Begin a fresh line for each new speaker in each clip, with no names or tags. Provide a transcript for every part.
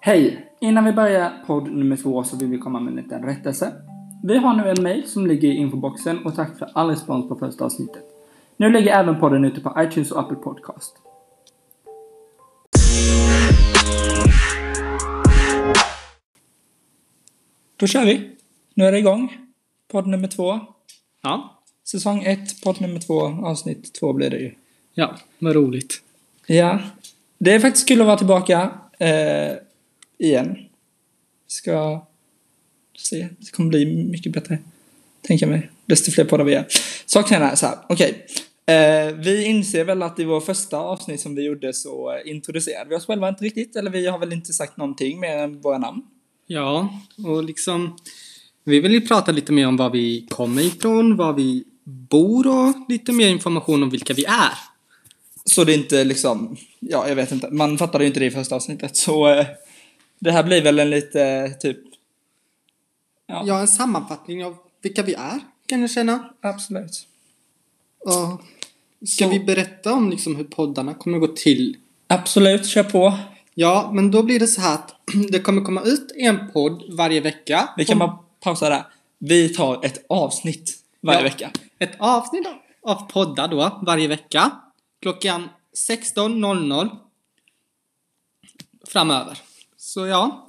Hej! Innan vi börjar podd nummer två så vill vi komma med en liten rättelse. Vi har nu en mail som ligger i infoboxen och tack för all respons på första avsnittet. Nu ligger även podden ute på iTunes och Apple Podcast. Då kör vi! Nu är det igång. Podd nummer två.
Ja,
Säsong 1, podd nummer 2, avsnitt 2 blir det ju.
ja, vad roligt.
Ja. Det är faktiskt kul att vara tillbaka. Eh, igen. Ska se. Det kommer bli mycket bättre. Tänker jag mig. Desto fler poddar vi gör. Saken är så här. Okej. Eh, vi inser väl att i vår första avsnitt som vi gjorde så eh, introducerade vi oss själva inte riktigt. Eller vi har väl inte sagt någonting mer än våra namn.
Ja, och liksom vi vill ju prata lite mer om var vi kommer ifrån, var vi bor och lite mer information om vilka vi är.
Så det är inte liksom, ja jag vet inte, man fattade ju inte det i första avsnittet så eh, det här blir väl en lite eh, typ, Ja.
Ja, en sammanfattning av vilka vi är kan jag känna.
absolut.
Ja. Ska vi berätta om liksom hur poddarna kommer gå till?
Absolut, kör på.
Ja, men då blir det så här att det kommer komma ut en podd varje vecka.
Vi kan
Om-
bara pausa där. Vi tar ett avsnitt varje
Ja.
vecka.
Ett avsnitt av- av poddar då, varje vecka. Klockan 16.00. Framöver. Så ja.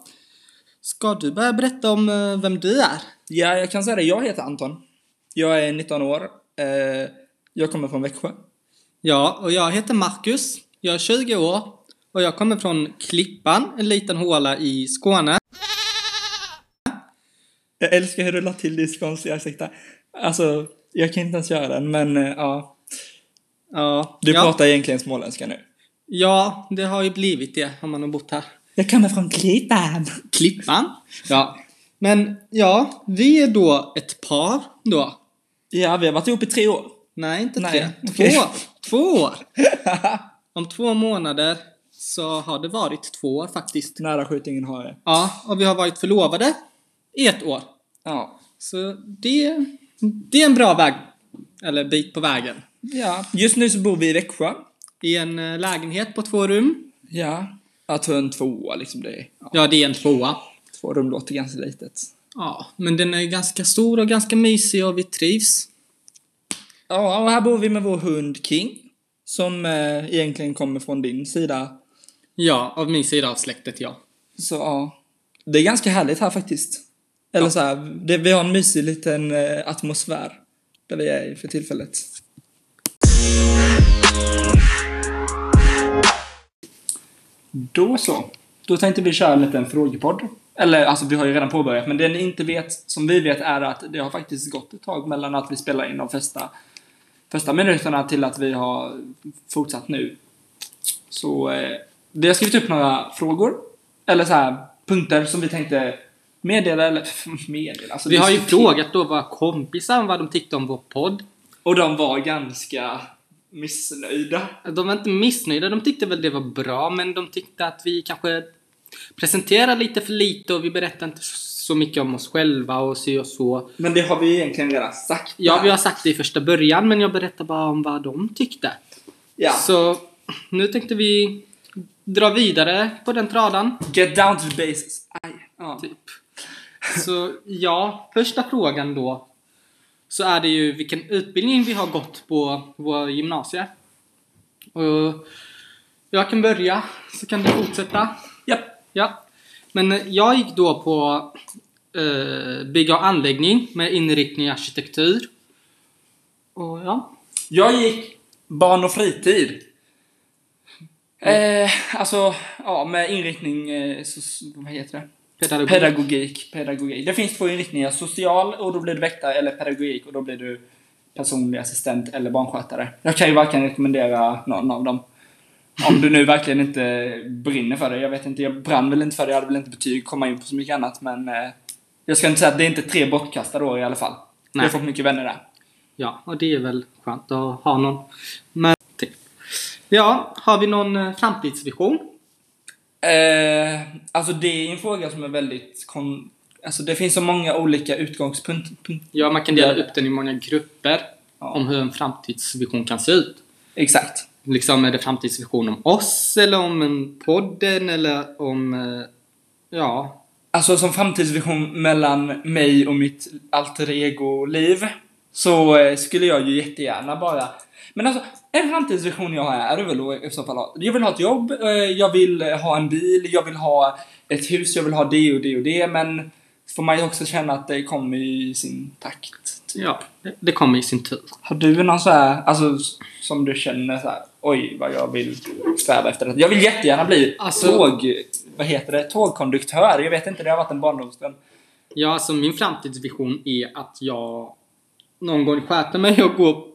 Ska du börja berätta om eh, vem du är?
Ja, jag kan säga det. Jag heter Anton. Jag är 19 år. Eh, jag kommer från Växjö.
Ja, och jag heter Marcus. Jag är 20 år. Och jag kommer från Klippan, en liten håla i Skåne.
Jag älskar hur du la till din skånska accent där. Alltså, jag kan inte ens göra den, men eh, ja.
Ja,
Du
ja,
pratar egentligen småländska nu.
ja, det har ju blivit det om man har bott här.
Jag kommer från Klippan.
Klippan? Ja. Men ja, vi är då ett par då.
Ja, vi har varit ihop i tre år.
Nej, inte
Nej,
tre.
okej.
Två år. Två år! Om två månader så har det varit två år faktiskt.
Nära skjutningen har jag.
Ja, och vi har varit förlovade i ett år.
Ja.
Så det, det är en bra väg. Eller bit på vägen.
Ja. Just nu så bor vi i Växjö.
I en eh, lägenhet på två rum.
Ja. Jag tror en tvåa liksom. Det är, ja,
Ja, det är en tvåa.
två rum låter ganska litet.
Ja, men den är ganska stor och ganska mysig och vi trivs.
Ja, och här bor vi med vår hund King. Som eh, egentligen kommer från din sida.
Ja, av min sida av släktet, ja.
Så ja. Det är ganska härligt här faktiskt. Eller så här, det, vi har en mysig liten eh, atmosfär. Där vi är för tillfället. Då så. Då tänkte vi köra en liten frågepodd. Eller alltså vi har ju redan påbörjat men det ni inte vet, som vi vet är att det har faktiskt gått ett tag mellan att vi spelar in de första, första minuterna till att vi har fortsatt nu. Så eh, vi har skrivit upp några frågor. Eller så här punkter som vi tänkte meddela eller meddela. Alltså,
Vi har ju
diskutera.
frågat då våra kompisar vad de tyckte om vår podd.
Och de var ganska missnöjda.
De var inte missnöjda, de tyckte väl det var bra, men de tyckte att vi kanske presenterar lite för lite och vi berättar inte så mycket om oss själva och så och så.
Men det har vi egentligen redan sagt.
Ja,
här.
vi har sagt det i första början, men jag berättar bara om vad de tyckte.
Ja.
Så nu tänkte vi dra vidare på den tradan,
Get down to the basis. Aj. Ja.
typ. Så ja, första frågan då. Så är det ju vilken utbildning vi har gått på vår gymnasie. Och jag kan börja, så kan du fortsätta.
Japp.
Ja, men eh, jag gick då på eh, bygga och anläggning med inriktning i arkitektur. Och ja,
Jag gick barn och fritid.
Mm.
Eh, alltså, ja, med inriktning, eh, så, vad heter det?
pedagogik.
Pedagogik, pedagogik. Det finns två inriktningar. Social och då blir du väktare eller pedagogik och då blir du personlig assistent eller barnskötare. Jag kan ju varken rekommendera någon av dem. Om du nu verkligen inte brinner för det. Jag vet inte, jag brann väl inte för det. Jag hade väl inte betyg, komma in på så mycket annat. Men eh, jag ska inte säga att det är inte tre bortkastade år i alla fall. Jag har
Nej.
fått mycket vänner där.
ja, och det är väl skönt att ha någon med till. Ja, har vi någon eh, framtidsvision?
Eh, alltså det är en fråga som är väldigt kon... Alltså det finns så många olika utgångspunkter.
Ja, man kan dela
Ja.
upp den i många grupper
Ja.
om hur en framtidsvision kan se ut.
Exakt.
Liksom, är det framtidsvision om oss eller om en podden eller om eh, Ja.
Alltså som framtidsvision mellan mig och mitt alter ego-liv så eh, skulle jag ju jättegärna bara... Men alltså, en framtidsvision jag har är väl då i så fall ha- Jag vill ha ett jobb, eh, jag vill eh, ha en bil, jag vill ha ett hus, jag vill ha det och det och det, men får man ju också känna att det kommer i sin takt. Typ.
Ja, det, det kommer i sin tur.
Har du någon så här, alltså s- som du känner så här, oj vad jag vill sträva efter det. Jag vill jättegärna bli
Alltså-
tåg, vad heter det, tågkonduktör. Jag vet inte, det har varit en barndomsdröm.
Ja, alltså min framtidsvision är att jag någon gång sköter mig och går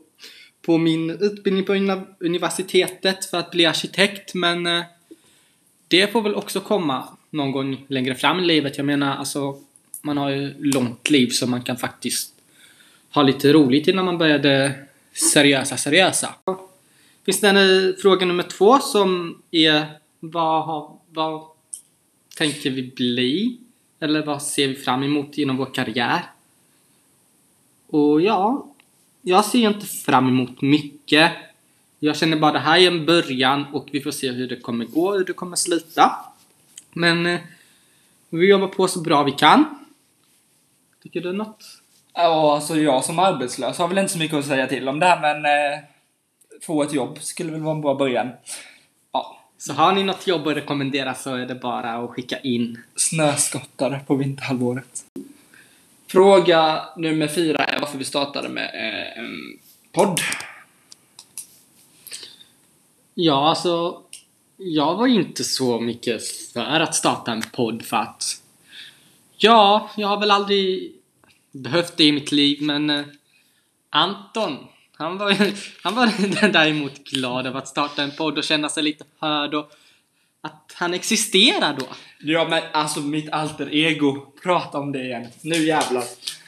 på min utbildning på uni- universitetet för att bli arkitekt, men eh, det får väl också komma någon gång längre fram i livet. Jag menar, alltså man har ju långt liv så man kan faktiskt ha lite roligt innan man börjar det seriösa, seriösa. Finns det en eh, fråga nummer två som är vad, har, vad tänker vi bli? Eller vad ser vi fram emot inom vår karriär? Och ja, jag ser inte fram emot mycket. Jag känner bara det här är en början och vi får se hur det kommer gå, hur det kommer sluta. Men eh, vi jobbar på så bra vi kan. Tycker du något?
Ja, alltså jag som arbetslös har väl inte så mycket att säga till om det här, men eh, få ett jobb skulle väl vara en bra början. Ja,
Så har ni något jobb att rekommendera så är det bara att skicka in.
snöskottare på vinterhalvåret.
Fråga nummer fyra är varför vi startade med eh, en podd.
Ja, alltså. Jag var inte så mycket för att starta en podd för att... Ja, jag har väl aldrig behövt det i mitt liv, men... eh, Anton, han var, han var däremot glad över att starta en podd och känna sig lite hörd och att han existerar då.
Ja, men alltså mitt alter ego. Prata om det igen. Nu jävlar.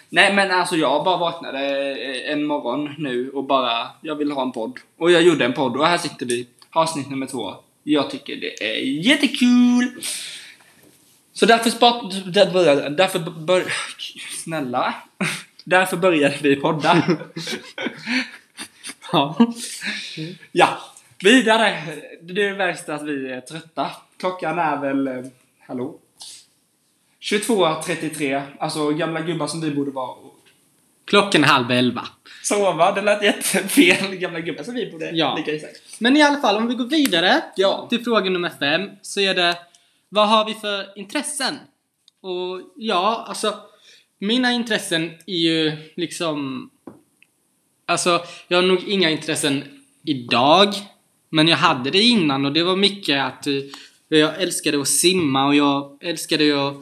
Nej, men alltså jag bara vaknade eh, en morgon nu och bara, jag vill ha en podd. Och jag gjorde en podd och här sitter vi. Avsnitt nummer två. Jag tycker det är jättekul! Så därför spart... där började- Därför bör... Snälla. Därför började vi podda.
Ja.
ja, vidare. Det är värst att vi är trötta. Klockan är väl... eh, Hallå? 22.33. Alltså gamla gubbar som vi borde vara och
Klockan är halv elva.
sova. Det lät jättefel. Gamla gubbar som vi borde
Ja.
ligga i säng.
Men i alla fall, om vi går vidare
Ja.
till fråga nummer fem så är det vad har vi för intressen? Och ja, alltså mina intressen är ju liksom alltså jag har nog inga intressen idag men jag hade det innan och det var mycket att eh, jag älskade att simma och jag älskade att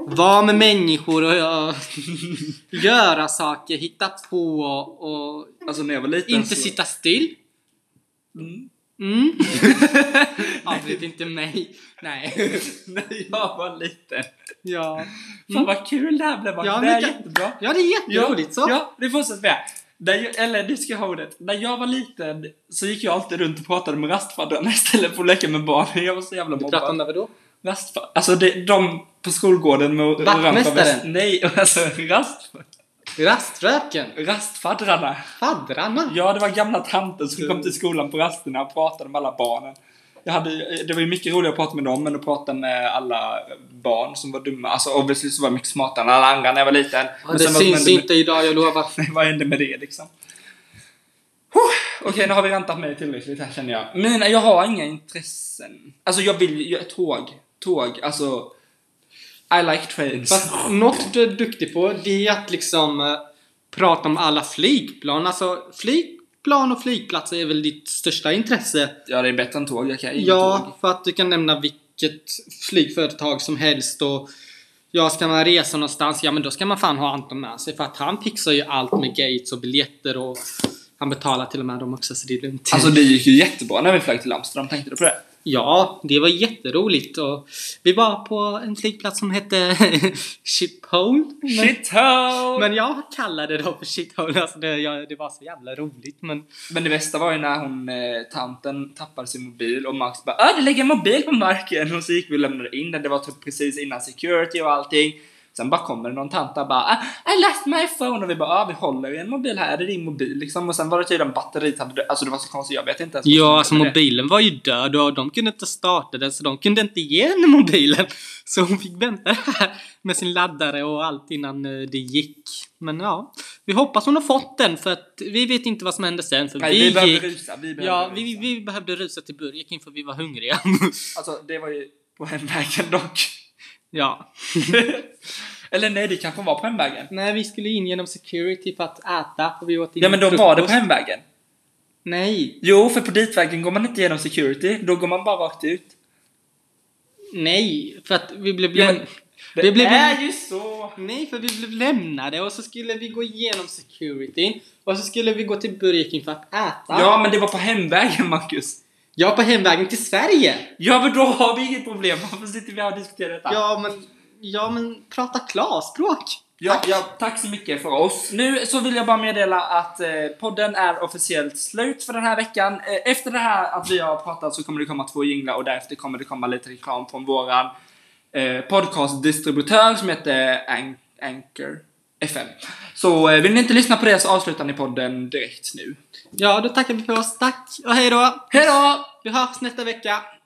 vara med människor och jag göra saker, hitta på och, och
Alltså när jag var liten
inte
så...
sitta still.
Mm.
Mm. Avbryt inte mig. Nej.
när jag var liten.
Ja.
Fan vad kul det här blev.
Ja,
det är
mycket-
jättebra.
Ja, det är jätteroligt så.
Ja, det fortsätter med. När jag, eller du ska ha ordet. När jag var liten så gick jag alltid runt och pratade med rastfaddrarna istället för att leka med barnen. Jag var så jävla
Du pratar om
mobbad.
det här då?
Rastfad... Alltså det, de på skolgården med orangea
Vaktmästaren.
väst- Nej, alltså rast,
Raströken.
rastfaddrarna.
Faddrarna.
Ja, det var gamla tanter som kom till skolan på rasterna och pratade med alla barnen. Jag hade, det var ju mycket roligare att prata med dem än att prata med alla barn som var dumma. Alltså obviously så var jag mycket smartare än alla andra när jag var liten.
Ja,
Men
det
sen vad som
syns
hände med-
inte idag, jag lovar.
Nej, vad hände med det liksom? Huh, Okej, nu har vi rantat mig tillräckligt här känner jag. Mina, jag har inga intressen. Alltså jag vill ju tåg. Tåg, alltså. I like trains.
Fast något du är duktig på, det är att liksom eh, prata om alla flygplan. Alltså, flygplan och flygplatser är väl ditt största intresse.
Ja, det är bättre än tåg. Jag kan inget tåg.
Ja, för att du kan nämna vilket flygföretag som helst och ja, ska man resa någonstans, ja men då ska man fan ha Anton med sig för att han fixar ju allt med gates och biljetter och han betalar till och med dem också så det är lugnt.
Alltså det gick ju jättebra när vi flög till Amsterdam. Tänkte du på det?
Ja, det var jätteroligt och vi var på en flygplats som hette Schiphol. Men,
Shithole! Men,
men jag kallade det då för Shithole, alltså det, jag, det var så jävla roligt men
men det bästa var ju när hon, eh, tanten tappade sin mobil och Max bara "Ah, Åh, det ligger en mobil på marken! Och så gick vi och lämnade in den. Det var typ precis innan security och allting. Sen bara kommer någon tant och bara "Ah, I lost my phone och vi bara ah, vi håller i en mobil här, är det din mobil liksom? Och sen var det tydligen batteriet hade dö- alltså det var så konstigt, jag vet inte ens vad som hände
Ja, alltså
med det.
mobilen var ju död och de kunde inte starta den så de kunde inte ge henne mobilen. Så hon fick vänta här med sin laddare och allt innan eh, det gick. Men ja, vi hoppas hon har fått den för att vi vet inte vad som hände sen för
Nej,
vi,
vi behövde
gick...
rusa, vi behövde
Ja,
rusa.
vi, vi behövde rusa till Burjekin för vi var hungriga.
Alltså det var ju på hemvägen dock.
ja.
Eller nej, det kanske var på hemvägen.
Nej, vi skulle in genom security för att äta och vi åt
Ja men då var det på hemvägen.
Nej,
Jo, för på ditvägen går man inte genom security, då går man bara rakt ut.
nej, för att vi blev...
Ja, men-
läm-
Det,
vi blev
är ju så!
Nej, för vi blev lämnade och så skulle vi gå igenom security och så skulle vi gå till Burger King för att äta.
Ja, men det var på hemvägen, Marcus.
Ja, på hemvägen till Sverige!
Ja, men då har vi inget problem. Varför sitter vi här och diskuterar detta?
Ja, men... Ja, men prata klarspråk!
Ja, ja, tack så mycket för oss. Nu så vill jag bara meddela att eh, podden är officiellt slut för den här veckan. Eh, efter det här att vi har pratat så kommer det komma två jinglar och därefter kommer det komma lite reklam från våran eh, podcastdistributör som heter An- Anchor FM. Så eh, vill ni inte lyssna på det så avslutar ni podden direkt nu.
Ja, då tackar vi för oss. Tack och hej då!
Hejdå!
Vi hörs nästa vecka!